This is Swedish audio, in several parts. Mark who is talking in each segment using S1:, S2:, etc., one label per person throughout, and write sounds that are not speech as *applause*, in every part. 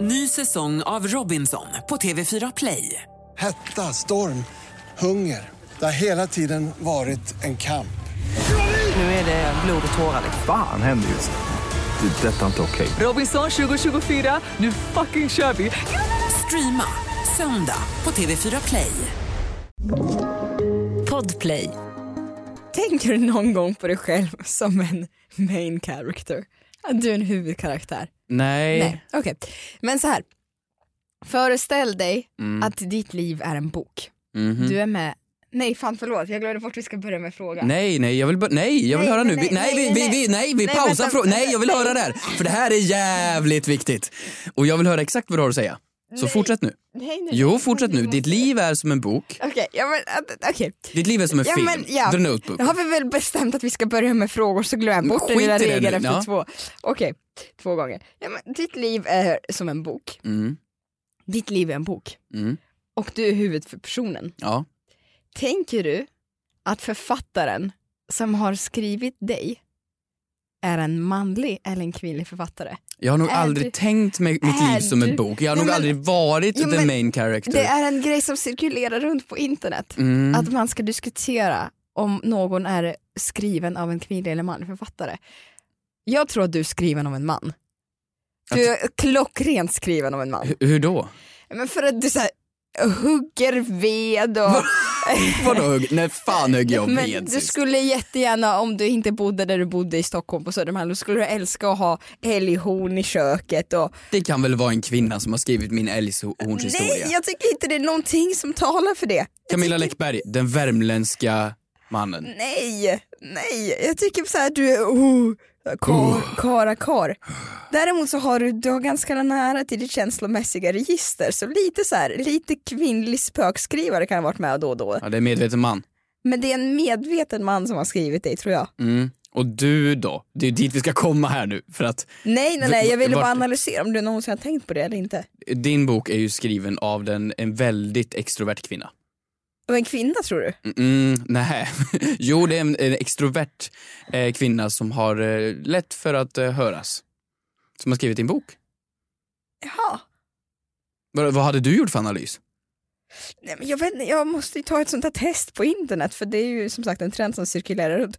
S1: Ny säsong av Robinson på TV4 Play.
S2: Hetta, storm, hunger. Det har hela tiden varit en kamp.
S1: Nu är det blod och tårar. liksom.
S3: Fan händer just nu. Det. är Detta är inte okej.
S1: Robinson 2024, nu fucking kör vi! Streama söndag på TV4 Play.
S4: Podplay. Tänker du någon gång på dig själv som en main character? Att du är en huvudkaraktär?
S5: Eh. Nej.
S4: Nej, okej. Men så här. Föreställ dig
S5: Mm.
S4: att ditt liv är en bok.
S5: Mhm.
S4: Du är med, nej fan förlåt jag glömde bort vi ska börja med frågan.
S5: Nej, nej, jag vill, bara- nej, jag vill
S4: Nej,
S5: höra nu.
S4: nej,
S5: Vi- Nej,
S4: nej,
S5: vi, vi, vi, nej, vi
S4: nej,
S5: pausar
S4: vänta,
S5: frågan. Nej, jag vill
S4: nej.
S5: höra det här. För det här är jävligt viktigt. Och jag vill höra exakt vad du har att säga. Så
S4: Nej.
S5: fortsätt nu.
S4: nej, nej.
S5: Jo, fortsätt nu. Ditt liv är som en bok.
S4: Okej, ja, men, att- okej.
S5: Ditt liv är som en
S4: Ja,
S5: film.
S4: men, ja.
S5: The Notebook.
S4: Då har vi väl bestämt att vi ska börja med frågor så glömmer jag bort den
S5: Mm, skit
S4: lilla
S5: i det
S4: regeln
S5: nu,
S4: efter
S5: ja.
S4: två. Okej, två gånger. Ja, men, ditt liv är som en bok.
S5: Mm,
S4: Ditt liv är en bok.
S5: mm,
S4: Och du är huvudet för personen.
S5: ja.
S4: Tänker du att författaren som har skrivit dig är en manlig eller en kvinnlig författare?
S5: Jag har nog
S4: Är
S5: aldrig
S4: du-
S5: tänkt mig mitt
S4: är
S5: liv som
S4: du-
S5: en bok. Jag har
S4: Jo,
S5: nog
S4: men-
S5: aldrig varit
S4: Jo,
S5: the
S4: men-
S5: main character.
S4: Det är en grej som cirkulerar runt på internet.
S5: Mm.
S4: Att man ska diskutera om någon är skriven av en kvinnlig eller manlig författare. Jag tror att du är skriven av en man. Du är klockrent skriven av en man.
S5: H- Hur då?
S4: Men för att du så här, hugger ved och...
S5: Vadå hugg? Nej, fan högg jag
S4: men
S5: ved
S4: du
S5: sist.
S4: skulle jättegärna om du inte bodde där du bodde i Stockholm på Södermalm, då skulle du älska att ha älghorn i köket och
S5: Det kan väl vara en kvinna som har skrivit min älghornshistoria?
S4: Nej jag tycker inte det är någonting som talar för det.
S5: Camilla Läckberg, den värmländska mannen.
S4: Mm. Nej, nej, jag tycker så här du är oh, kar, kara kar. Däremot så har du, du har ganska nära till ditt känslomässiga register så lite så här, lite kvinnlig spökskrivare kan ha varit med då och då.
S5: Ja, det är en medveten man.
S4: Men det är en medveten man som har skrivit det tror jag.
S5: Mm. Och du då? Det är dit vi ska komma här nu. För att
S4: Nej nej nej jag ville
S5: Vart-
S4: bara analysera om du någonsin har tänkt på det eller inte.
S5: din bok är ju skriven av den, en väldigt extrovert kvinna.
S4: Och en kvinna tror du?
S5: Mm, nej. *laughs* Jo, det är en, en extrovert eh, kvinna som har eh, lätt för att eh, höras. Som har skrivit din bok.
S4: Jaha.
S5: Vad, vad hade du gjort för analys?
S4: Nej, men jag, vet, inte, jag måste ju ta ett sånt här test på internet för det är ju som sagt en trend som cirkulerar runt.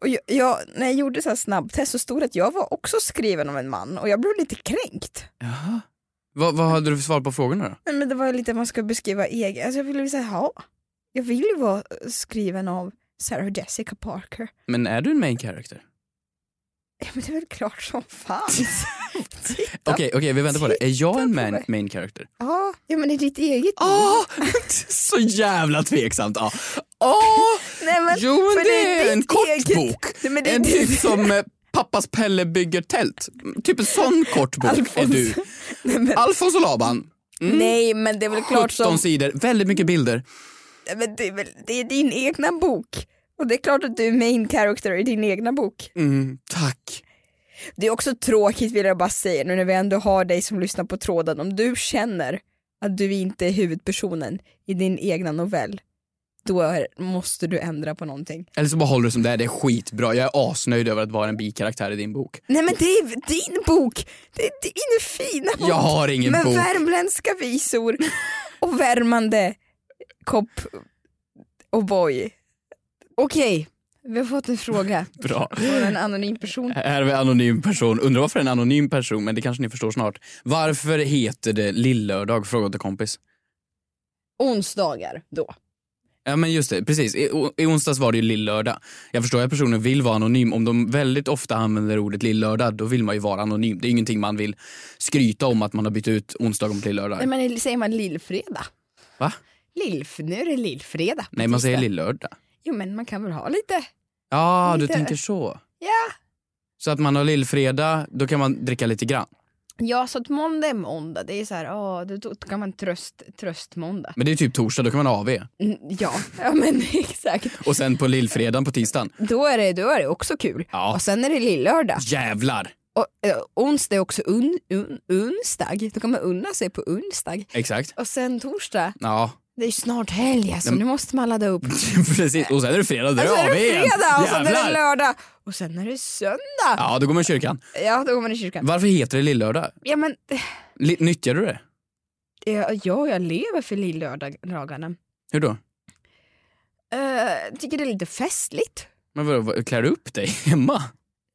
S4: Och jag, jag, när jag gjorde så här snabbtest så stod det att jag var också skriven av en man och jag blev lite kränkt.
S5: Jaha. Vad, vad hade du för svar på frågorna då?
S4: Nej, men det var ju lite man ska beskriva egen, alltså jag ville ju säga ja, jag vill ju vara eh, skriven av Sarah Jessica Parker.
S5: Men är du en main character?
S4: Ja men det är väl klart som
S5: *laughs*
S4: fan. Titta.
S5: Okej, okej, vi väntar på det. Är jag en
S4: Titta på
S5: main,
S4: mig.
S5: main character?
S4: Ja, ja men i ditt eget
S5: Ah, *laughs* så jävla tveksamt. Ja. Ah,
S4: Nej, men,
S5: jo, men
S4: för
S5: det, är en
S4: ditt
S5: kort
S4: eget-
S5: bok.
S4: Nej, men det är
S5: En
S4: ditt-
S5: typ som eh, pappas Pelle bygger tält. Typ en sån kort bok är du.
S4: Nej, men,
S5: Alfons och Laban. Mm.
S4: nej men det är väl klart
S5: 17
S4: som
S5: sidor, väldigt mycket bilder.
S4: Nej, men det, är väl, det är din egna bok. Och det är klart att du är main character i din egna bok.
S5: Mm, tack.
S4: Det är också tråkigt vill jag bara säga nu när vi ändå har dig som lyssnar på tråden. Om du känner att du inte är huvudpersonen i din egna novell, då är, måste du ändra på någonting.
S5: Eller så bara håller du som det är, det är skitbra. Jag är asnöjd över att vara en bikaraktär i din bok.
S4: Nej men det är din bok! Det är din fina bok!
S5: Jag har ingen
S4: med
S5: bok.
S4: värmländska visor och värmande kopp och boy. Okej, vi har fått en fråga.
S5: Bra.
S4: från en anonym person.
S5: Här är vi en anonym person. Undrar varför det är en anonym person, men det kanske ni förstår snart. Varför heter det lillördag? Frågade kompis.
S4: Onsdagar då.
S5: Ja men just det, precis. I, o- i onsdags var det ju lillördag. Jag förstår att personen vill vara anonym. Om de väldigt ofta använder ordet lillördag, då vill man ju vara anonym. Det är ju ingenting man vill skryta om att man har bytt ut onsdagen till lillördag.
S4: Nej,
S5: Nej,
S4: men säger man lillfredag?
S5: Va?
S4: Lillf, nu är det lillfredag. på
S5: man
S4: tisdag.
S5: säger lillördag.
S4: Jo men man kan väl ha lite.
S5: Ja, du
S4: Lite-
S5: tänker så.
S4: Ja.
S5: Så att man har lillfredag, då kan man dricka lite grann.
S4: Ja så att måndag är måndag. Det är så här, åh, då, då kan man tröst, tröstmåndag.
S5: Men det är typ torsdag, då kan man ha AV.
S4: Mm, ja. *laughs* ja men exakt.
S5: Och sen på lillfredagen på tisdagen,
S4: Då är, det, då är det också kul.
S5: Ja.
S4: Och sen är det lillördag.
S5: jävlar!
S4: Och, eh, onsdag är också un, un, onsdag. Då kan man unna sig på onsdag.
S5: Exakt.
S4: Och sen torsdag,
S5: Ja, *laughs*
S4: det är ju snart helg alltså.
S5: Nej, men-
S4: Nu måste man ladda upp.
S5: precis. Och sen är det fredag, då är
S4: Och så
S5: det
S4: är
S5: AW
S4: det
S5: igen.
S4: fredag och sen är det
S5: Jävlar!
S4: lördag. Och sen är det söndag.
S5: Ja, då går man i kyrkan.
S4: Ja, då går man i kyrkan.
S5: Varför heter det lillördag?
S4: Ja, men eh,
S5: Li- Nyttjar du det?
S4: Ja, ja, jag lever för lillördagarna.
S5: Hur då?
S4: Uh, tycker det är lite festligt.
S5: Men vadå, vad- klär du upp dig *laughs* hemma?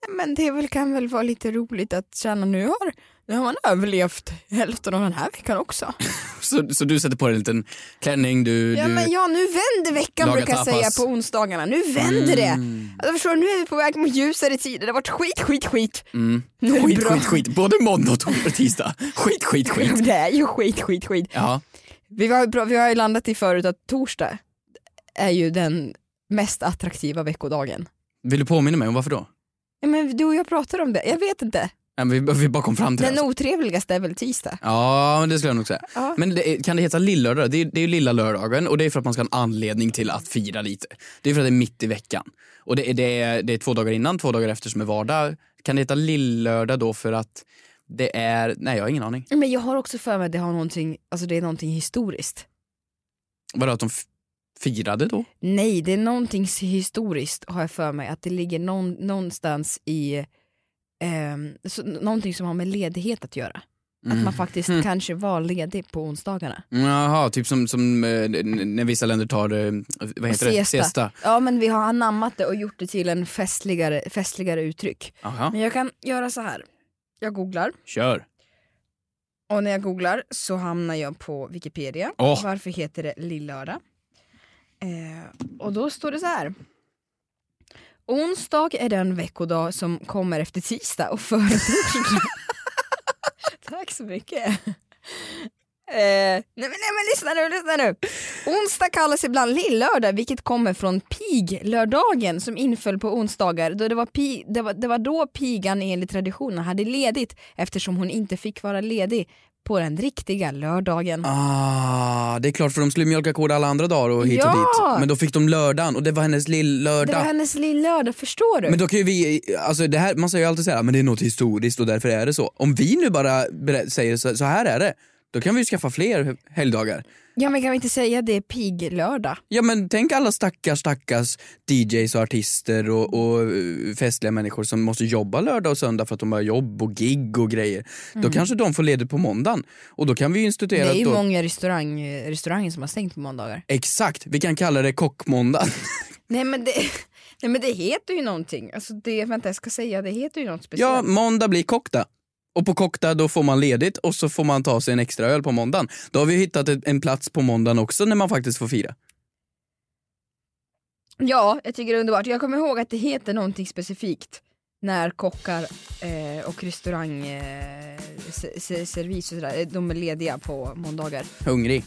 S4: Men det är väl, kan väl vara lite roligt att känna nu har, nu har man överlevt hälften av den här veckan också.
S5: Så, så du sätter på dig en liten klänning, du...
S4: Ja
S5: du...
S4: men ja, nu vänder veckan
S5: Laga
S4: brukar jag säga
S5: tapas.
S4: på onsdagarna. Nu vänder det.
S5: Mm.
S4: Alltså, förstår du, nu är vi på väg mot ljusare tider. Det har varit skit, skit, skit.
S5: Mm.
S4: Nu är det
S5: Skit,
S4: bra.
S5: skit, skit. Både måndag och tor- *laughs* tisdag. Skit, skit,
S4: *laughs*
S5: skit.
S4: Det är ju skit, skit, skit.
S5: Ja.
S4: Vi har, ju pra- vi har ju landat i förut att torsdag är ju den mest attraktiva veckodagen.
S5: Vill du påminna mig om varför då?
S4: Ja, men du och jag pratade om det, jag vet inte.
S5: Nej, men vi, vi bara kom fram till det.
S4: Den
S5: alltså.
S4: otrevligaste är väl tisdag?
S5: Ja, men det skulle jag nog säga.
S4: Ja.
S5: Men det, är- kan det heta lillördag? Det, är- det är ju lilla lördagen och det är för att man ska ha en anledning till att fira lite. Det är för att det är mitt i veckan. Och det, är- det, är, det är två dagar innan, två dagar efter som är vardag. Kan det heta lillördag då för att det är... Nej, jag har ingen aning.
S4: Men jag har också för mig att det, har någonting, alltså det är någonting historiskt.
S5: Vadå, att de f- firade då?
S4: Nej, det är någonting s- historiskt har jag för mig att det ligger någon, någonstans i ehm, så, någonting som har med ledighet att göra. Att
S5: Mm.
S4: man faktiskt kanske var ledig på onsdagarna.
S5: Jaha, typ som, som eh, n- när vissa länder tar, eh, vad heter det?
S4: Siesta. Ja men vi har anammat det och gjort det till en festligare, festligare uttryck.
S5: Jaha,
S4: Men jag kan göra så här. Jag googlar
S5: kör.
S4: och när jag googlar så hamnar jag på Wikipedia.
S5: Åh.
S4: Varför heter det lillördag? Eh, och då står det så här. Onsdag är den veckodag som kommer efter tisdag och före torsdag. Tack så mycket. Eh, nej, men, nej men lyssna nu, lyssna nu. Onsdag kallas ibland lillördag vilket kommer från piglördagen som inföll på onsdagar. Då det, var pi, det, var, det var då pigan enligt traditionen hade ledigt eftersom hon inte fick vara ledig på den riktiga lördagen.
S5: Ah, det är klart för de skulle mjölka kod alla andra dagar och hit
S4: Ja!
S5: och dit. Men då fick de lördagen och det var hennes
S4: Det var
S5: lill-lördag.
S4: hennes lillördag, förstår du?
S5: Men då kan ju vi, alltså det här, man säger ju alltid så här, men det är något historiskt och därför är det så. Om vi nu bara berä- säger så, så här är det, då kan vi ju skaffa fler helgdagar.
S4: Ja men kan vi inte säga det är piglördag?
S5: Ja men tänk alla stackars stackars DJs och artister och, och eh, festliga människor som måste jobba lördag och söndag för att de har jobb och gig och grejer. Då kanske de får ledigt på måndagen och då kan vi ju
S4: Mm. Det
S5: instituera
S4: är ju
S5: att då,
S4: många restaurang, restauranger som har stängt på måndagar.
S5: Exakt, vi kan kalla det kockmåndag.
S4: Nej men det, *laughs* nej, men det heter ju någonting. Alltså det, vänta jag ska säga, det heter ju något speciellt.
S5: *laughs* ja, måndag blir kockdag. Och på kockdag då får man ledigt och så får man ta sig en extra öl på måndagen. Då har vi hittat ett- en plats på måndagen också när man faktiskt får fira.
S4: Ja, jag tycker det är underbart. Jag kommer ihåg att det heter någonting specifikt när kockar eh, och restaurang eh, se- se- servis och sådär, eh, de är lediga på måndagar.
S5: Hungrig.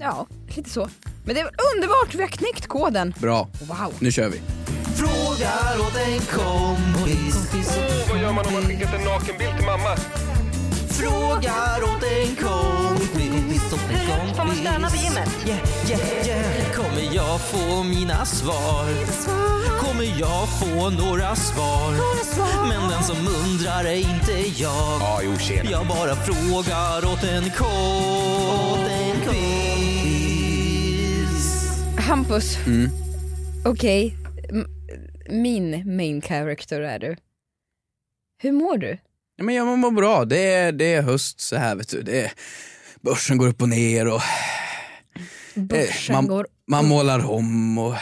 S4: Ja, lite så. Men det är underbart, vi har knäckt koden.
S5: Bra,
S4: Wow.
S5: nu kör vi.
S6: Frågar åt en kompis.
S7: Vad gör man om man skickat en nakenbild till mamma?
S6: Frågar åt en kompis. Åt en kompis.
S8: Får man stanna vid gymmet?
S6: Yeah, yeah, yeah. Kommer jag få mina svar? Kommer jag få några svar? Men den som undrar är inte jag.
S7: Ja, jo tjena.
S6: Jag bara frågar åt en kompis.
S4: Hampus.
S5: Mm.
S4: Okej, m- min main character är du. Hur mår du?
S5: Ja, men jag mår bra, det är, det är höst så här vet du. Det är, börsen går upp och ner och
S4: Börsen
S5: Eh, man-
S4: går...
S5: man målar om och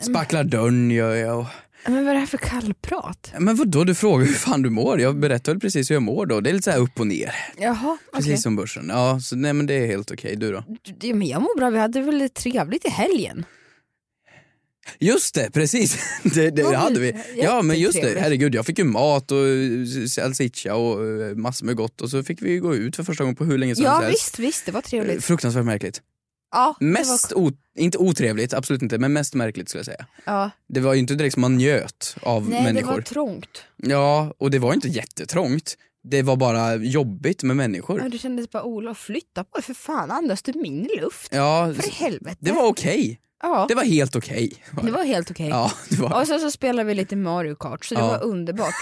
S5: spacklar dörren gör jag. Och,
S4: Men vad är det här för kallprat?
S5: men vadå, du frågar hur fan du mår? Jag berättar väl precis hur jag mår då. Det är lite så här upp och ner.
S4: Jaha,
S5: Precis
S4: okej.
S5: som börsen. Ja, så nej men det är helt okej. Du då?
S4: Ja, men jag mår bra, vi hade väl trevligt i helgen?
S5: Just det, precis. *laughs* Det, det
S4: Ja,
S5: hade vi.
S4: jättetrevligt.
S5: Ja men just det, herregud jag fick ju mat och eh, salsiccia och eh, massor med gott och så fick vi ju gå ut för första gången på hur länge som
S4: Ja
S5: helst.
S4: visst, visst, det var
S5: Eh,
S4: trevligt.
S5: Fruktansvärt märkligt.
S4: Ja, det
S5: Mest, o- inte otrevligt, absolut inte, men mest märkligt skulle jag säga.
S4: Var, ja.
S5: Det var ju inte direkt som man njöt av
S4: Nej,
S5: människor.
S4: det var trångt.
S5: Ja, och det var inte jättetrångt. Det var bara jobbigt med människor.
S4: Ja, du kändes bara Olof, flytta på dig för fan, andas du min luft?
S5: Ja,
S4: För i helvete.
S5: det var okej.
S4: ja,
S5: Det var helt okej.
S4: det var helt okej.
S5: Ja, det var...
S4: Och sen så spelade vi lite Mario Kart så det
S5: Ja.
S4: var
S5: *laughs*
S4: underbart.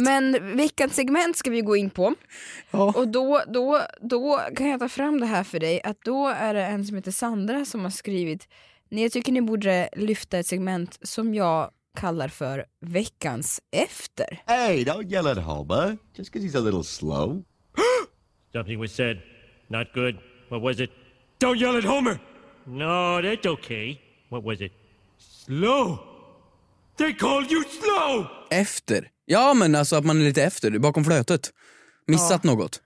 S4: Men veckans segment ska vi gå in på.
S5: Ja.
S4: Och då, då, då kan jag ta fram det här för dig att då är det en som heter Sandra som har skrivit "Ni, Jag tycker ni borde lyfta ett segment som jag kallar för veckans efter.
S9: Hey, don't yell at Homer just 'cause he's a little slow.
S8: Something was said. Not good. What was it? Don't yell at Homer! No, that's okay. What was it? Slow! They called you slow!
S5: Efter? Ja, men alltså att man är lite efter, bakom flötet. Missat något.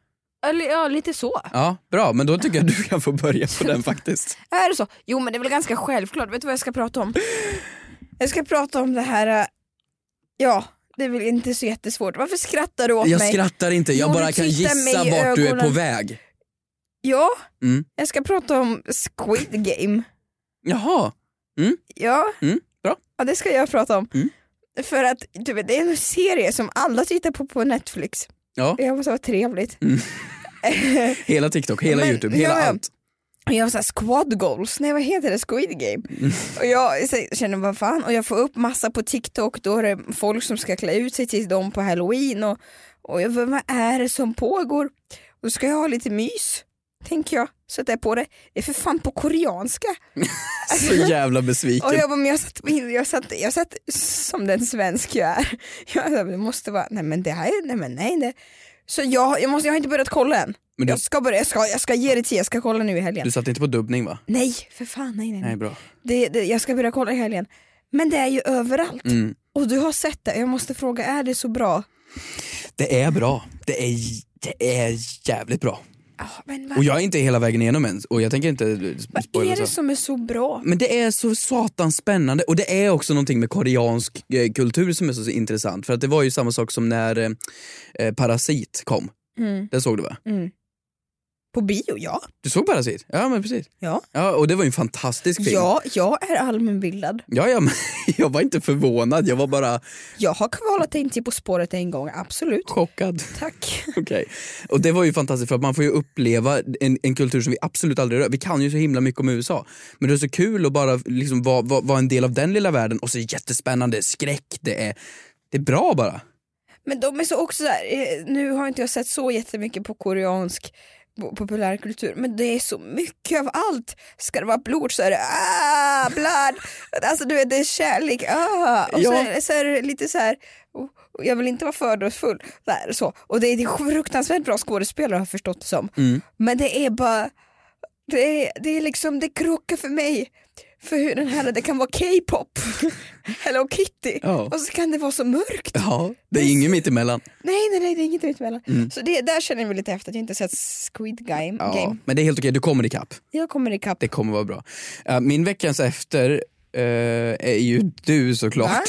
S4: Eller ja, lite så.
S5: Ja, bra. Men då tycker jag du kan få börja
S4: *laughs*
S5: på den faktiskt.
S4: Är det så? Jo men det är väl ganska självklart, vet du vad jag ska prata om? Jag ska prata om det här, eh, ja det är väl inte så jättesvårt. Varför skrattar du åt
S5: Jag
S4: mig?
S5: skrattar inte, jag
S4: Jo,
S5: bara
S4: du
S5: kan
S4: tittar
S5: gissa
S4: mig i
S5: vart du är på
S4: ögonen.
S5: väg.
S4: ja,
S5: Mm.
S4: jag ska prata om Squid Game.
S5: Jaha,
S4: Ja,
S5: mm, bra.
S4: ja det ska jag prata om.
S5: Mm.
S4: För att du vet, det är en serie som alla tittar på på Netflix.
S5: Ja. Mm.
S4: Jag måste vara trevligt.
S5: Hela TikTok, hela
S4: Men-
S5: Youtube, hela
S4: ja, ja.
S5: allt.
S4: Och jag var såhär squad goals, nej vad heter det, squid game?
S5: Mm.
S4: Och jag så- känner vad fan, och jag får upp massa på TikTok, då är det folk som ska klä ut sig till dem på halloween och, och jag bara, vad är det som pågår? Då ska jag ha lite mys, tänker jag, sätter jag på det. Det är för fan på koreanska.
S5: Så jävla besviken.
S4: Och jag bara, men jag satt, jag satt, jag satt som den svensk jag är. *laughs* Jag bara, det måste vara, nej men det här är, nej men nej det. Så jag, jag, måste, jag har inte börjat kolla än.
S5: Men du-
S4: Jag ska börja, jag ska, jag ska ge det till, jag ska kolla nu i helgen.
S5: Du satt inte på dubbning va?
S4: Nej, för fan, nej nej. nej.
S5: Nej, bra.
S4: Det, det, jag ska börja kolla i helgen. Men det är ju överallt.
S5: Mm.
S4: Och du har sett det, jag måste fråga, är det så bra?
S5: Det är bra. Det är, j- det är jävligt bra.
S4: Ja, men
S5: Och
S4: vad,
S5: jag alltså. är inte hela vägen igenom än och jag tänker inte sp-
S4: vad är
S5: spoila
S4: det
S5: så.
S4: som är så bra?
S5: Men det är så satans spännande och det är också någonting med koreansk eh, kultur som är så intressant för att det var ju samma sak som när eh, eh, Parasit kom.
S4: Mm.
S5: Den såg du va?
S4: På bio, ja.
S5: Du såg Parasit? Ja men precis.
S4: Ja,
S5: Ja och det var ju en fantastisk film.
S4: ja jag är allmänbildad.
S5: Ja, ja men *laughs* jag var inte förvånad, jag var bara
S4: Jag har kvalat in till På spåret en gång, absolut.
S5: chockad.
S4: Tack.
S5: Okej. Och det var ju fantastiskt för att man får ju uppleva en, en kultur som vi absolut aldrig rör. Vi kan ju så himla mycket om USA. Men det är så kul att bara liksom vara vara- vara en del av den lilla världen och så är det jättespännande, skräck, det är, det är bra bara.
S4: Men de är så också så här, eh, nu har inte jag sett så jättemycket på koreansk po- populärkultur, men det är så mycket av allt. Ska det vara blod så är det ah, blod, alltså du vet det är kärlek, ah. och så,
S5: Ja.
S4: är, det- så är det lite så här, och- och jag vill inte vara fördomsfull, så här, så. och det är det är fruktansvärt bra skådespelare har jag förstått det som,
S5: Mm.
S4: men det är bara, det är, det är liksom, det krockar för mig. För hur den här, det kan vara K-pop, *laughs* Hello Kitty,
S5: Ja.
S4: och så kan det vara så mörkt.
S5: Ja, det är inget mitt emellan.
S4: Nej, nej, nej, det är inget mittemellan. Så det, där känner jag mig lite efter att jag inte sett Squid Game.
S5: Mm. Ja,
S4: Game.
S5: men det är helt okej, du kommer ikapp.
S4: Jag kommer ikapp.
S5: Det kommer vara bra. Eh, min veckans efter eh, är ju du såklart.
S4: Va?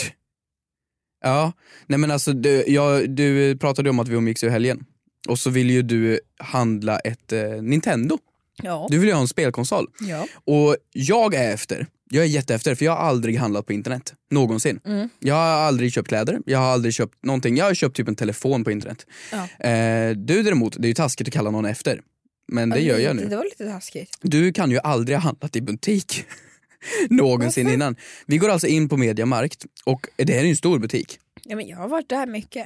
S5: Ja, nej men alltså du, jag, du pratade ju om att vi umgicks i helgen. Och så vill ju du handla ett eh, Nintendo.
S4: Ja.
S5: Du vill ju ha en spelkonsol.
S4: ja.
S5: Och jag är efter. Jag är jätteefter för jag har aldrig handlat på internet. Någonsin.
S4: Mm.
S5: Jag har aldrig köpt kläder, jag har aldrig köpt någonting. Jag har köpt typ en telefon på internet.
S4: Ja.
S5: Eh, du däremot, det är ju taskigt att kalla någon efter. Men det gör jag nu.
S4: Det var lite taskigt.
S5: Du kan ju aldrig ha handlat i butik *laughs* någonsin innan. Vi går alltså in på Mediamarkt och det här är ju en stor butik.
S4: Ja, men jag har varit där mycket.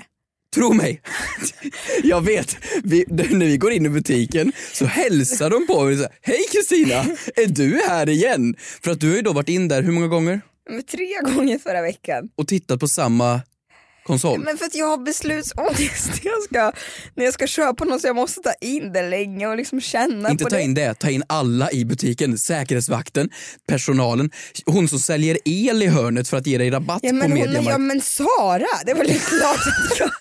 S5: Tro mig! Jag vet, vi, när vi går in i butiken så hälsar de på mig och säger Hej Kristina, är du här igen? För att du har ju då varit in där hur många gånger?
S4: Men tre gånger förra veckan.
S5: Och tittat på samma konsol.
S4: Men för att jag har beslutsångest. *laughs* Jag ska, när jag ska köpa något så jag måste ta in det länge och liksom känna
S5: Inte
S4: på
S5: ta
S4: det.
S5: in det, ta in alla i butiken. Säkerhetsvakten, personalen, hon som säljer el i hörnet för att ge dig rabatt
S4: Ja
S5: på
S4: men, hon,
S5: Mediamarkt.
S4: ja men Sara, det var lite klart att jag... *laughs*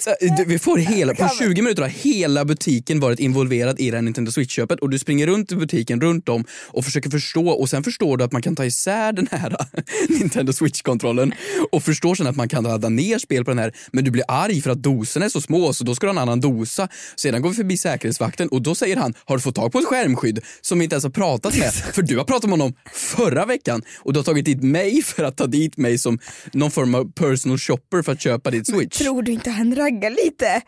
S5: Så, eh, du, Vi får hela, på 20 minuter har hela butiken varit involverad i det här Nintendo Switch-köpet och du springer runt i butiken runt om och försöker förstå och sen förstår du att man kan ta isär den här eh, *laughs* Nintendo Switch-kontrollen och förstår sen att man kan ladda ner spel på den här men du blir arg för att doserna är så små så då ska du ha en annan dosa. Sedan går vi förbi säkerhetsvakten och då säger han har du fått tag på ett skärmskydd som vi inte ens har pratat med för du har pratat med honom förra veckan och du har tagit dit mig för att ta dit mig som någon form av personal shopper för att köpa ditt Switch.
S4: Tror du inte han raggar lite?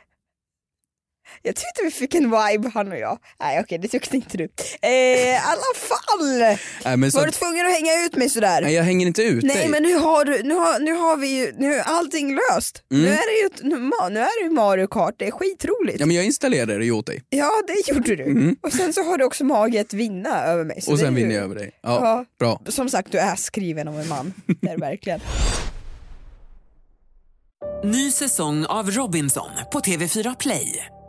S4: Jag tyckte vi fick en vibe han och jag. Nej okej det tyckte inte du. Eh, I alla fall!
S5: Nej, men så
S4: Var du
S5: att-
S4: tvungen att hänga ut mig sådär?
S5: Nej, jag hänger inte ut
S4: Nej
S5: dig.
S4: men nu har, du, nu, har, nu har vi ju, nu är allting löst. Nu är det ju ett- nu, ma- nu är det ju Mario Kart, det är skitroligt.
S5: Mm. Ja, men jag installerade det ju åt dig
S4: Ja det gjorde du. Och sen så har du också mage att vinna över mig. Så
S5: och
S4: det
S5: sen
S4: är ju-
S5: vinner jag över dig. Ja,
S4: Ja.
S5: Bra.
S4: Som sagt du är skriven av en
S5: *laughs*
S4: man. Det är du verkligen.
S1: Ny säsong av Robinson på TV4 Play.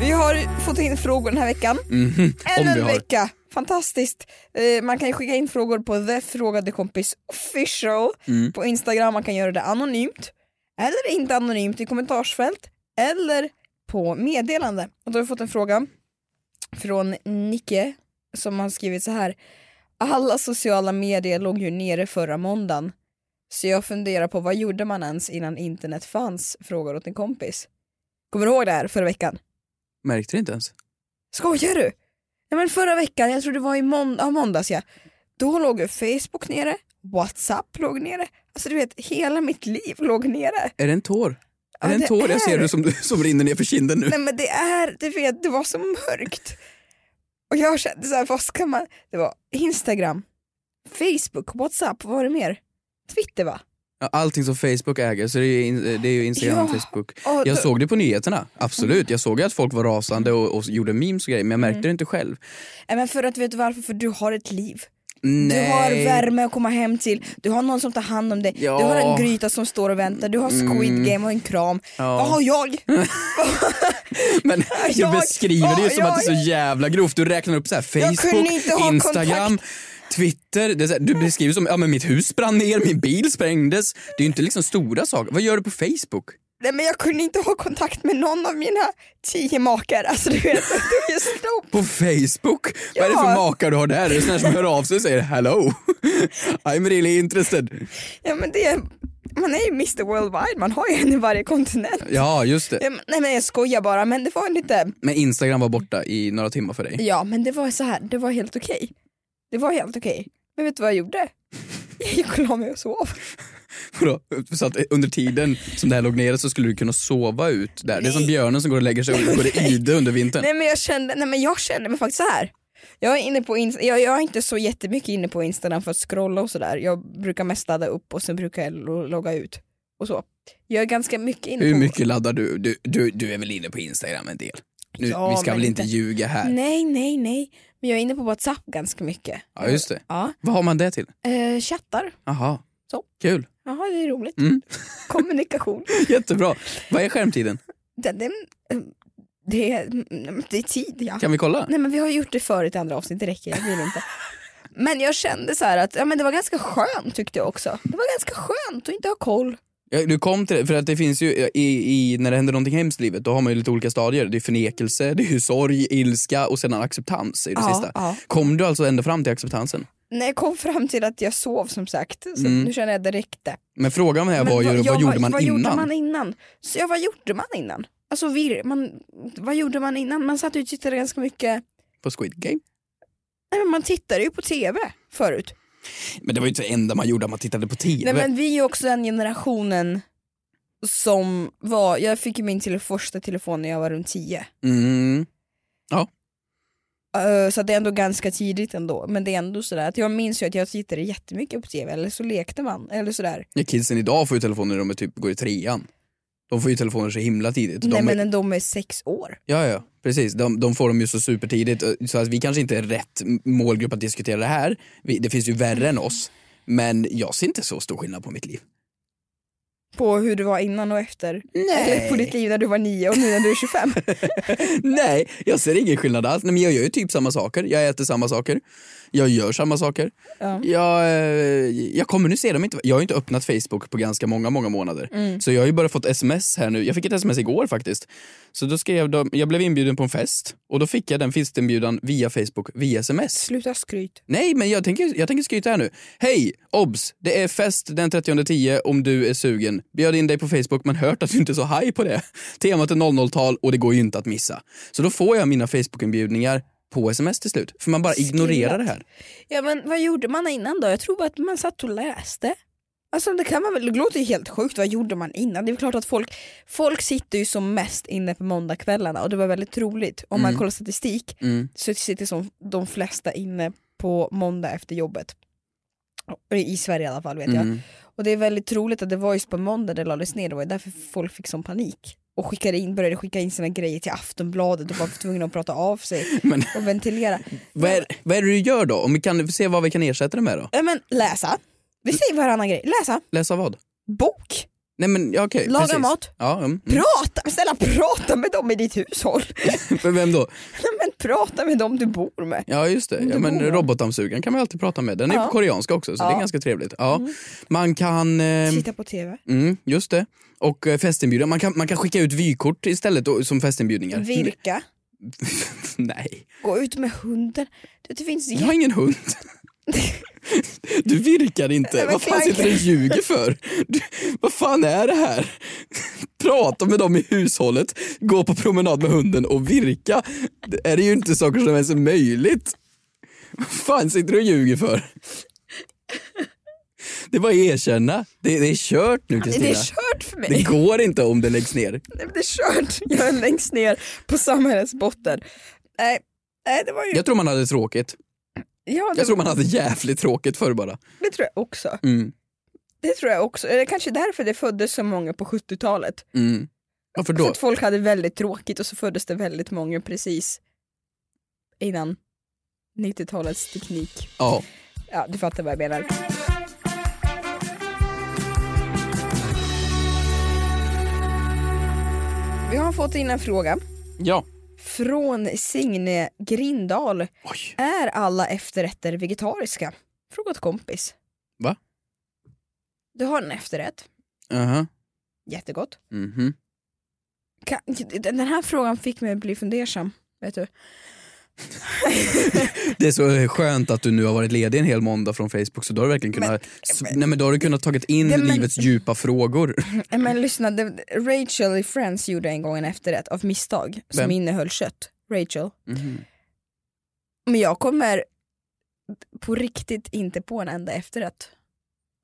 S4: Vi har fått in frågor den här veckan.
S5: Mhm. om
S4: Ännu
S5: vi
S4: en
S5: har.
S4: vecka! Fantastiskt! Eh, man kan ju skicka in frågor på The Frågade Kompis official
S5: Mm.
S4: på Instagram, man kan göra det anonymt eller inte anonymt i kommentarsfält eller på meddelande. Och då har vi fått en fråga från Nicke som har skrivit så här. Alla sociala medier låg ju nere förra måndagen så jag funderar på vad gjorde man ens innan internet fanns? Frågar åt en kompis. Kommer du ihåg det här förra veckan?
S5: Märkte det inte ens?
S4: Skojar du? Nej men förra veckan, jag tror det var i månd- ja, måndags ja, då låg ju Facebook nere, Whatsapp låg nere, alltså du vet hela mitt liv låg
S5: *clears throat*
S4: nere.
S5: Är det en tår?
S4: Ja,
S5: är det en
S4: det
S5: tår jag
S4: är
S5: ser
S4: det.
S5: du som, *laughs* som rinner ner för kinden nu?
S4: Nej men det är, du vet det var så mörkt. Och jag kände så här, vad ska man, det var Instagram, Facebook, Whatsapp, vad var det mer? Twitter va?
S5: Ja, Allting som Facebook äger, så det är ju, in- det är ju Instagram och
S4: Ja,
S5: Facebook.
S4: och
S5: Jag
S4: då- Mm.
S5: såg det på nyheterna, absolut. Jag såg ju att folk var rasande och, och gjorde memes och grejer men jag märkte det inte själv.
S4: Nej men för att vet du varför? För du har ett liv.
S5: Nej.
S4: Du har värme att komma hem till, du har någon som tar hand om dig,
S5: Ja. Mm.
S4: du har en gryta som står och väntar, du har Squid Game och en kram.
S5: Ja.
S4: Vad har jag? *laughs*
S5: Men
S4: Jag-
S5: du beskriver det ju som
S4: jag-
S5: att det är så jävla grovt. Du räknar upp så här
S4: Jag kunde inte
S5: Facebook,
S4: ha
S5: Instagram, Twitter. Det är så här, du beskriver som ja, men mitt hus brann ner, min bil sprängdes. Det är ju inte liksom stora saker. Vad gör du på Facebook?
S4: Nej men jag kunde inte ha kontakt med någon av mina tio makar, alltså du vet, det är ju stopp.
S5: På Facebook? Vad är det
S4: Ja.
S5: för makar du har där? Är det sådana som hör av sig och säger hello? *laughs* I'm really interested.
S4: Ja men det är, man är ju Mr Worldwide, man har ju en i varje kontinent.
S5: Ja, just det.
S4: Ja, men, nej men jag skojar bara, men det var lite,
S5: Men Instagram var borta i några timmar för dig.
S4: ja men det var så här, det var helt okej. Det var helt okej. Men vet du vad jag gjorde? Jag gick och la mig och sov.
S5: Vadå? Så att under tiden som det här låg nere så skulle du kunna sova ut där. Det är som
S4: Nej.
S5: björnen som går och lägger sig och går i ide under vintern.
S4: Nej men jag kände, nej men jag kände mig faktiskt så här. Jag är, inne på Inst- jag, jag är inte så jättemycket inne på Instagram för att scrolla och sådär. Jag brukar mest ladda upp och sen brukar jag lo- logga ut. Och så. Jag är ganska mycket inne
S5: Hur
S4: på...
S5: mycket laddar du? Du, du? du är väl inne på Instagram en del? Nu,
S4: Ja,
S5: vi ska
S4: men
S5: väl inte
S4: inte- Mm.
S5: ljuga här?
S4: Nej, nej, nej. Men jag är inne på Whatsapp ganska mycket.
S5: Ja, just det.
S4: Ja.
S5: Vad har man det till?
S4: Eh, chattar.
S5: Aha.
S4: Så.
S5: Kul. *laughs*
S4: Jaha, det är roligt.
S5: Mm.
S4: *laughs* Kommunikation.
S5: Jättebra. Vad är skärmtiden?
S4: Det, det, det, är- mm, det är tid, ja.
S5: Kan vi kolla?
S4: Nej men vi har gjort det förut i andra avsnitt, det räcker, jag vill inte. Men jag kände så här att ja, men det var ganska skönt tyckte jag också. Det var ganska skönt att inte ha koll.
S5: Ja, Du kom till det, för att det finns ju i, i, när det händer någonting hemskt i livet, då har man ju lite olika stadier. Det är förnekelse, det är ju sorg, ilska och sen acceptans är det
S4: Ja,
S5: sista.
S4: ja.
S5: Kom du alltså ända fram till acceptansen?
S4: När jag kom fram till att jag sov som sagt, så
S5: Mm.
S4: nu känner jag att det räckte.
S5: Men frågan här
S4: Men
S5: var ju, vad,
S4: jag-
S5: gjorde man
S4: vad
S5: innan?
S4: Gjorde man innan? Så, ja, vad gjorde man innan? Alltså vir, man, vad gjorde man innan? Man satt ju och tittade ganska mycket,
S5: På Squid Game?
S4: nej, men man tittade ju på tv förut.
S5: Men det var ju inte det enda man gjorde, man tittade på TV.
S4: Nej men vi är ju också den generationen som var, jag fick ju min tele, första telefon när jag var runt 10.
S5: Mm.
S4: Eh, så att det är ändå ganska tidigt ändå. Men det är ändå sådär att jag minns ju att jag tittade jättemycket på tv eller så lekte man eller sådär.
S5: Ja, kidsen idag får ju telefoner när de är typ, går i trean. De får ju telefoner så himla tidigt. De
S4: Nej
S5: är-
S4: men när de är sex år.
S5: Ja, ja, precis. De, de får dem ju så supertidigt. Så att vi kanske inte är rätt målgrupp att diskutera det här. Vi, det finns ju värre än oss. Men jag ser inte så stor skillnad på mitt liv.
S4: på hur du var innan och efter?
S5: Nej.
S4: Eller på ditt liv när du var nio och nu när du är 25?
S5: *laughs* Nej, jag ser ingen skillnad alls. Nej, men jag gör ju typ samma saker. Jag äter samma saker. Jag gör samma saker.
S4: Ja.
S5: Jag, eh, jag kommunicerar dem inte. Jag har ju inte öppnat Facebook på ganska många, många månader.
S10: Mm.
S5: Så jag har ju bara fått sms här nu. Jag fick ett sms igår faktiskt. Så då skrev de, jag blev inbjuden på en fest och då fick jag den festinbjudan via Facebook, via sms.
S4: Sluta skryt.
S5: Nej, men jag tänker, jag tänker skryta här nu. Hej! Obs! Det är fest den 30.10 om du är sugen. Bjöd in dig på Facebook men hört att du inte är så high på det. Temat är 00-tal och det går ju inte att missa. Så då får jag mina Facebook-inbjudningar på sms till slut. För man bara ignorerar det här.
S4: Ja men vad gjorde man innan då? Jag tror bara att man satt och läste. Alltså det kan man väl, det låter ju helt sjukt, vad gjorde man innan? Det är väl klart att folk, folk sitter ju som mest inne på måndagskvällarna och det var väldigt roligt. Om man
S5: Mm.
S4: kollar statistik
S5: Mm.
S4: så sitter som de flesta inne på måndag efter jobbet. I Sverige i alla fall vet jag.
S5: Mm.
S4: Och det är väldigt roligt att det var just på måndag det lades ner, det var ju därför folk fick sån panik. Och skickade in, började skicka in sina grejer till Aftonbladet och var tvungna att prata av sig
S5: *laughs*
S4: och ventilera.
S5: Vad är, vad är det du gör då? Om vi kan se vad vi kan ersätta det med då?
S4: Ja, men läsa. Vi säger varannan grej. Läsa,
S5: Läsa vad?
S4: bok,
S5: Nej men ja, okej.
S4: Laga
S5: precis.
S4: mat.
S5: Ja, mm. *laughs*
S4: prata, men snälla prata med dem i ditt hushåll.
S5: Men Vem då?
S4: *laughs* Nej, men prata med dem du bor med.
S5: Ja just det, ja,
S4: Det
S5: men
S4: går.
S5: robotdammsugaren kan man alltid prata med. Den är
S4: Ja.
S5: på koreanska också så det
S4: Ja. Mm.
S5: är ganska trevligt. Ja. Man kan... ehm,
S4: Titta på tv.
S5: Mm, just det. Och eh, festinbjudan. Man kan, man kan skicka ut vykort istället då, som festinbjudningar.
S4: Virka,
S5: *laughs* Nej,
S4: gå ut med hunden. Du, det finns
S5: jag har
S4: *laughs*
S5: ingen hund. Du virkar inte.
S4: Nej, men
S5: Vad fan sitter du och
S4: Frank-
S5: ljuger för? Du, vad fan är det här? Prata med dem i hushållet, gå på promenad med hunden och virka. Det är ju inte saker som ens är möjligt. Vad fan sitter du och ljuger för? Det var erkänna. Det, det är kört nu
S4: Det är
S5: Kristina.
S4: kört för mig.
S5: Det går inte om det läggs ner.
S4: Nej, men det är kört. Jag är längst ner på samhällets botten. Nej, nej det var ju...
S5: Jag tror man hade tråkigt.
S4: ja, det...
S5: Jag tror man hade jävligt tråkigt förr bara.
S4: Det tror jag också.
S5: Mm.
S4: Det tror jag också. Det är kanske därför det föddes så många på 70-talet.
S5: Mm. Varför
S4: För
S5: då?
S4: Alltså att folk hade väldigt tråkigt och så föddes det väldigt många precis innan 90-talets teknik.
S5: Ja.
S4: Ja, du fattar vad jag menar. Vi har fått in en fråga
S5: Ja.
S4: från Signe Grindal. Är alla efterrätter vegetariska? Fråga ett kompis.
S5: Va?
S4: Du har en efterrätt,
S5: Aha.
S4: jättegott.
S5: Mhm.
S4: Kan, den här frågan fick mig att bli fundersam. Vet du?
S5: Det är så eh, skönt att du nu har varit ledig en hel måndag från Facebook så då har du verkligen kunnat, s- nej, men då har du kunnat tagit in
S4: Ja, men-
S5: livets djupa frågor.
S4: Nej, Eh, Men lyssna, det- Rachel i Friends gjorde en gång en efterrätt av misstag som
S5: Vem? Mhm.
S4: innehöll kött. Rachel. Men jag kommer på riktigt inte på en enda efterrätt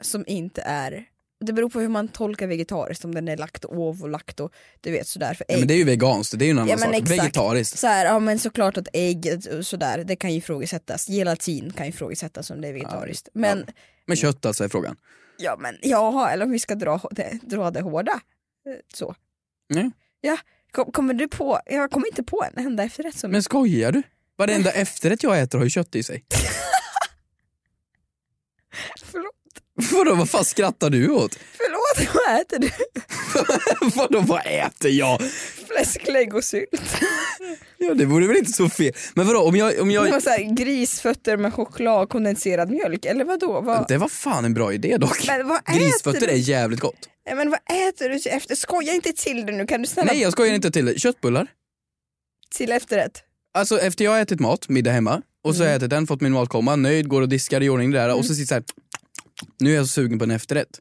S4: som inte är det beror på hur man tolkar vegetariskt, om den är lakt och ov och lakt och du vet sådär. För ägg.
S5: Ja, men det är ju veganskt, det är ju en annan
S4: Ja, men
S5: sak.
S4: exakt.
S5: Vegetariskt.
S4: Så här, ja men såklart att ägg och sådär, det kan ju ifrågasättas. Gelatin kan ju ifrågasättas om det är vegetariskt. Men
S5: Men kött alltså är frågan.
S4: Ja men jaha, eller om vi ska dra det, dra det hårda. Eh, Så.
S5: Ja.
S4: Ja, kom, kommer du på, jag kommer inte på en enda efterrätt som...
S5: Men skojar du? Varenda efterrätt jag äter har ju kött i sig. *laughs*
S4: Förlåt,
S5: Vadå, vad fan skrattar du åt? *laughs*
S4: förlåt, *laughs* vad äter du?
S5: Vadå, vad äter jag?
S4: Fläsklägg och sylt.
S5: Ja, det vore väl inte så fel. Men vadå, om jag... Om
S4: Det var
S5: jag...
S4: så här, grisfötter med choklad och kondenserad mjölk, eller vadå? Vad...
S5: Det var fan en bra idé dock.
S4: Men vad äter
S5: *laughs* Grisfötter
S4: du?
S5: är jävligt gott.
S4: Nej, Men vad äter du till efter? Skoja inte till det nu, kan du snälla?
S5: Nej jag skojar inte till det. Köttbullar.
S4: Till efterrätt?
S5: Alltså efter jag har ätit mat, middag hemma, och så
S4: Mm.
S5: har jag ätit den, fått min matkomma, nöjd, går och diskar i ordning det där och så sitter så här. nu är jag så sugen på en efterrätt.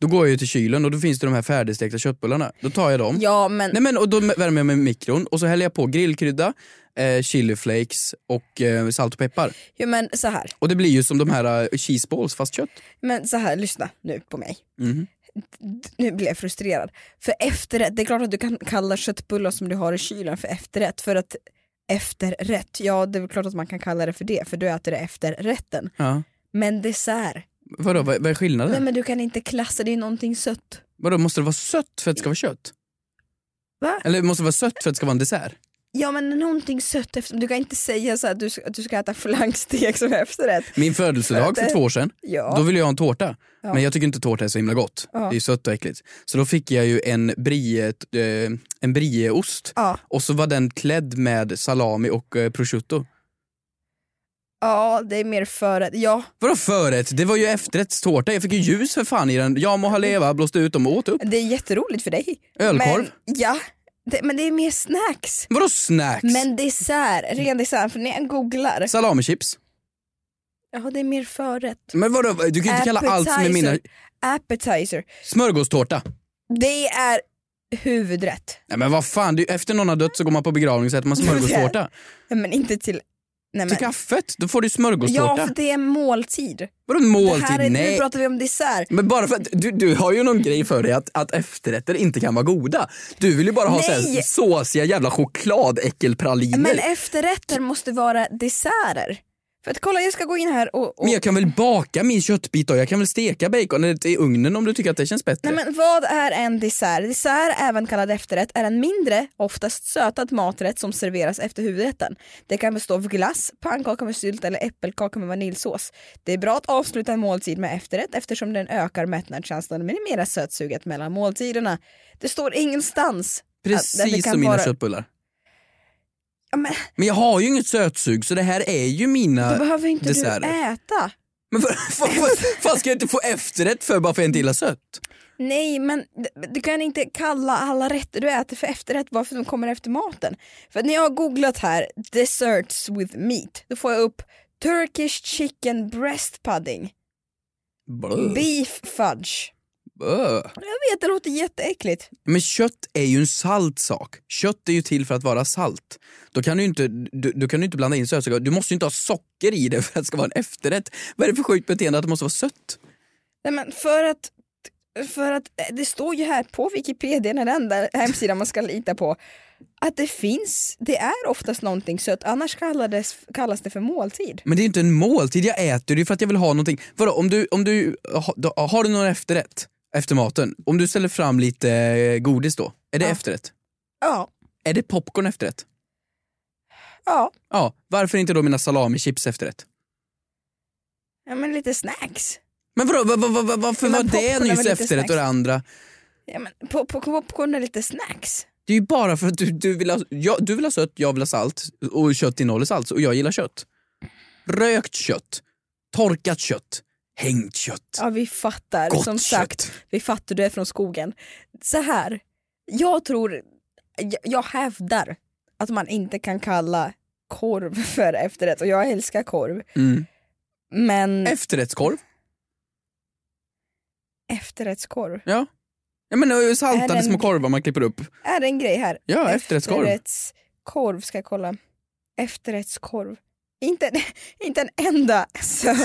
S5: Då går jag ju till kylen och då finns det de här färdigstekta köttbullarna. Då tar jag dem.
S4: Ja men...
S5: Mm. Nej, men och då värmer jag med mikron och så häller jag på grillkrydda, eh, chiliflakes och eh, salt och peppar.
S4: Jo men så här.
S5: Och det blir ju som de här eh, cheese balls fast kött.
S4: men så här, lyssna nu på mig.
S5: Mhm.
S4: nu blir jag frustrerad. För efterrätt, det är klart att du kan kalla köttbullar som du har i kylen för efterrätt. För att efterrätt, ja det är väl klart att man kan kalla det för det för du äter det efter rätten.
S5: Ja.
S4: Men dessert,
S5: Vadå, vad, vad är skillnaden?
S4: nej men du kan inte klassa det är någonting sött.
S5: Vadå, måste det vara sött för att det ska vara kött?
S4: Va?
S5: Eller måste det vara sött för att det ska vara en dessert?
S4: Ja men någonting sött efter, du kan inte säga så här att du, ska- att du ska äta flankstek som efterrätt.
S5: Min födelsedag för
S4: Det-
S5: två år sedan,
S4: Ja.
S5: då ville jag ha en tårta.
S4: Ja.
S5: Men jag tycker inte tårta är så himla gott.
S4: Ja.
S5: Det är ju sött och äckligt. Så då fick jag ju en, brie, eh, en brieost
S4: Ja.
S5: och så var den klädd med salami och eh, prosciutto.
S4: Ja det är mer förrätt, ja
S5: Vadå förrätt? Det var ju efterrättstårta. Jag fick ju ljus för fan i den. Jag må ha leva, blåste ut dem och åt upp.
S4: det är jätteroligt för dig.
S5: Ölkorv?
S4: Men, ja, det, men det är mer snacks.
S5: Vadå snacks?
S4: Men dessert,
S5: Mm.
S4: ren dessert, för när jag googlar.
S5: Salamichips?
S4: Ja det är mer förrätt.
S5: Men vadå? Mm, Du kan ju inte kalla allt som är mina...
S4: Appetizer.
S5: Smörgåstårta?
S4: Det är huvudrätt.
S5: Nej men vad fan, det är ju, efter någon har dött så går man på begravning och så
S4: *laughs*
S5: äter man smörgåstårta.
S4: Nej, men inte till... Nej, men.
S5: Till kaffet, då får du smörgåstårta.
S4: Ja för det är en måltid.
S5: Vadå
S4: Det här är,
S5: måltid?
S4: nu
S5: Nej.
S4: pratar vi om dessert.
S5: Men bara för att du, du har ju någon grej för dig att, att efterrätter inte kan vara goda. Du vill ju bara ha så här
S4: Nej.
S5: såsiga jävla chokladäckelpraliner.
S4: Men eh,
S5: Men,
S4: efterrätter måste vara desserter. För att kolla jag ska gå in här och... och...
S5: jag kan väl baka min köttbit då? Jag kan väl steka baconet i ugnen om du tycker att det känns bättre?
S4: Nej men vad är en dessert? Dessert, även kallad efterrätt, är en mindre, oftast sötad maträtt som serveras efter huvudrätten. Det kan bestå av glass, pannkaka med sylt eller äppelkaka med vaniljsås. Det är bra att avsluta en måltid med efterrätt eftersom den ökar mättnadskänslan och minimerar sötsuget mellan måltiderna. Det står ingenstans att- att det
S5: Precis
S4: kan
S5: som mina
S4: vara-
S5: köttbullar.
S4: Ja, men,
S5: Men jag har ju inget sötsug så det här är ju mina
S4: då behöver inte du
S5: Äh, desserter.
S4: äta.
S5: Men vad fan ska jag inte få efterrätt för bara för att jag inte gillar sött?
S4: Nej men d- du kan inte kalla alla rätter du äter för efterrätt bara för att de kommer efter maten. För när jag har googlat här desserts with meat då får jag upp Turkish chicken breast pudding,
S5: Blö.
S4: beef fudge.
S5: Blö.
S4: Jag vet det låter jätteäckligt.
S5: Men kött är ju en salt sak. Kött är ju till för att vara salt. Då kan du ju inte, du, du kan ju inte blanda in sötsaker. Du måste ju inte ha socker i det *laughs* för att det ska vara en efterrätt. Vad är det för sjukt beteende att det måste vara sött?
S4: Nej men för att för att eh, det står ju här på Wikipedia, den enda hemsidan man ska lita på, att det finns, det är oftast någonting sött, annars kallades, kallas det för måltid.
S5: Men det är ju inte en måltid. Jag äter det ju för att jag vill ha någonting. Vadå, om du, om du, ha, då- har du någon efterrätt efter maten? Om du ställer fram lite eh, godis då, är det efterrätt?
S4: Ja,
S5: Är det popcorn efterrätt?
S4: ja,
S5: Ja, varför inte då mina salamichips efterrätt?
S4: ja men lite snacks.
S5: Men vadå, va, va, va, va, varför
S4: Men
S5: var det
S4: popcorn är
S5: nyss
S4: väl lite
S5: efterrätt och det
S4: snacks?
S5: andra?
S4: Ja, men på, på, popcorn är lite snacks.
S5: Det är ju bara för att du, du, vill ha, jag, du vill ha sött, jag vill ha salt och kött innehåller salt och jag gillar kött. Rökt kött, torkat kött, hängt kött.
S4: Ja vi fattar.
S5: Gott
S4: Som sagt,
S5: kött.
S4: vi fattar du är från skogen. Så här, jag tror, jag, jag hävdar att man inte kan kalla korv *laughs* för efterrätt och jag älskar korv.
S5: Mm.
S4: Men
S5: Efterrättskorv.
S4: efterrättskorv,
S5: Ja. Ja, men det är ju
S4: Är
S5: saltade
S4: den-
S5: små korvar man klipper upp.
S4: är det en grej här?
S5: Ja, efterrättskorv.
S4: Efterrättskorv ska jag kolla. Efterrättskorv. Inte, *laughs* en- inte en enda så, *laughs* inte,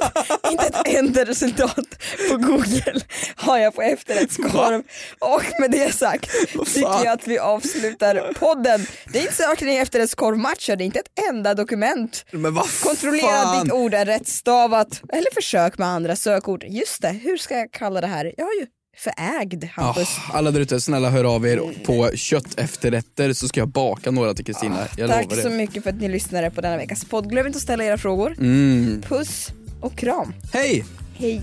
S4: ett- inte ett enda resultat på google har jag på efterrättskorv. Och med det sagt tycker
S5: fan?
S4: jag att vi avslutar podden. Det är inte sökning efterrättskorvmatcher, det är inte ett enda dokument.
S5: Men vad
S4: Kontrollera att
S5: fan?
S4: ditt ord är rättstavat eller försök med andra sökord. Just det, hur ska jag kalla det här? Jag är ju förägd
S5: Ah,
S4: Hampus.
S5: alla där ute, snälla hör av
S4: Mm.
S5: er på köttefterrätter så ska jag baka några till Kristina. jag
S4: Tack
S5: lovar
S4: så
S5: det.
S4: mycket för att ni lyssnade på denna veckas podd. Glöm inte att ställa era frågor.
S5: Mm.
S4: Puss och kram.
S5: Hej!
S4: Hej!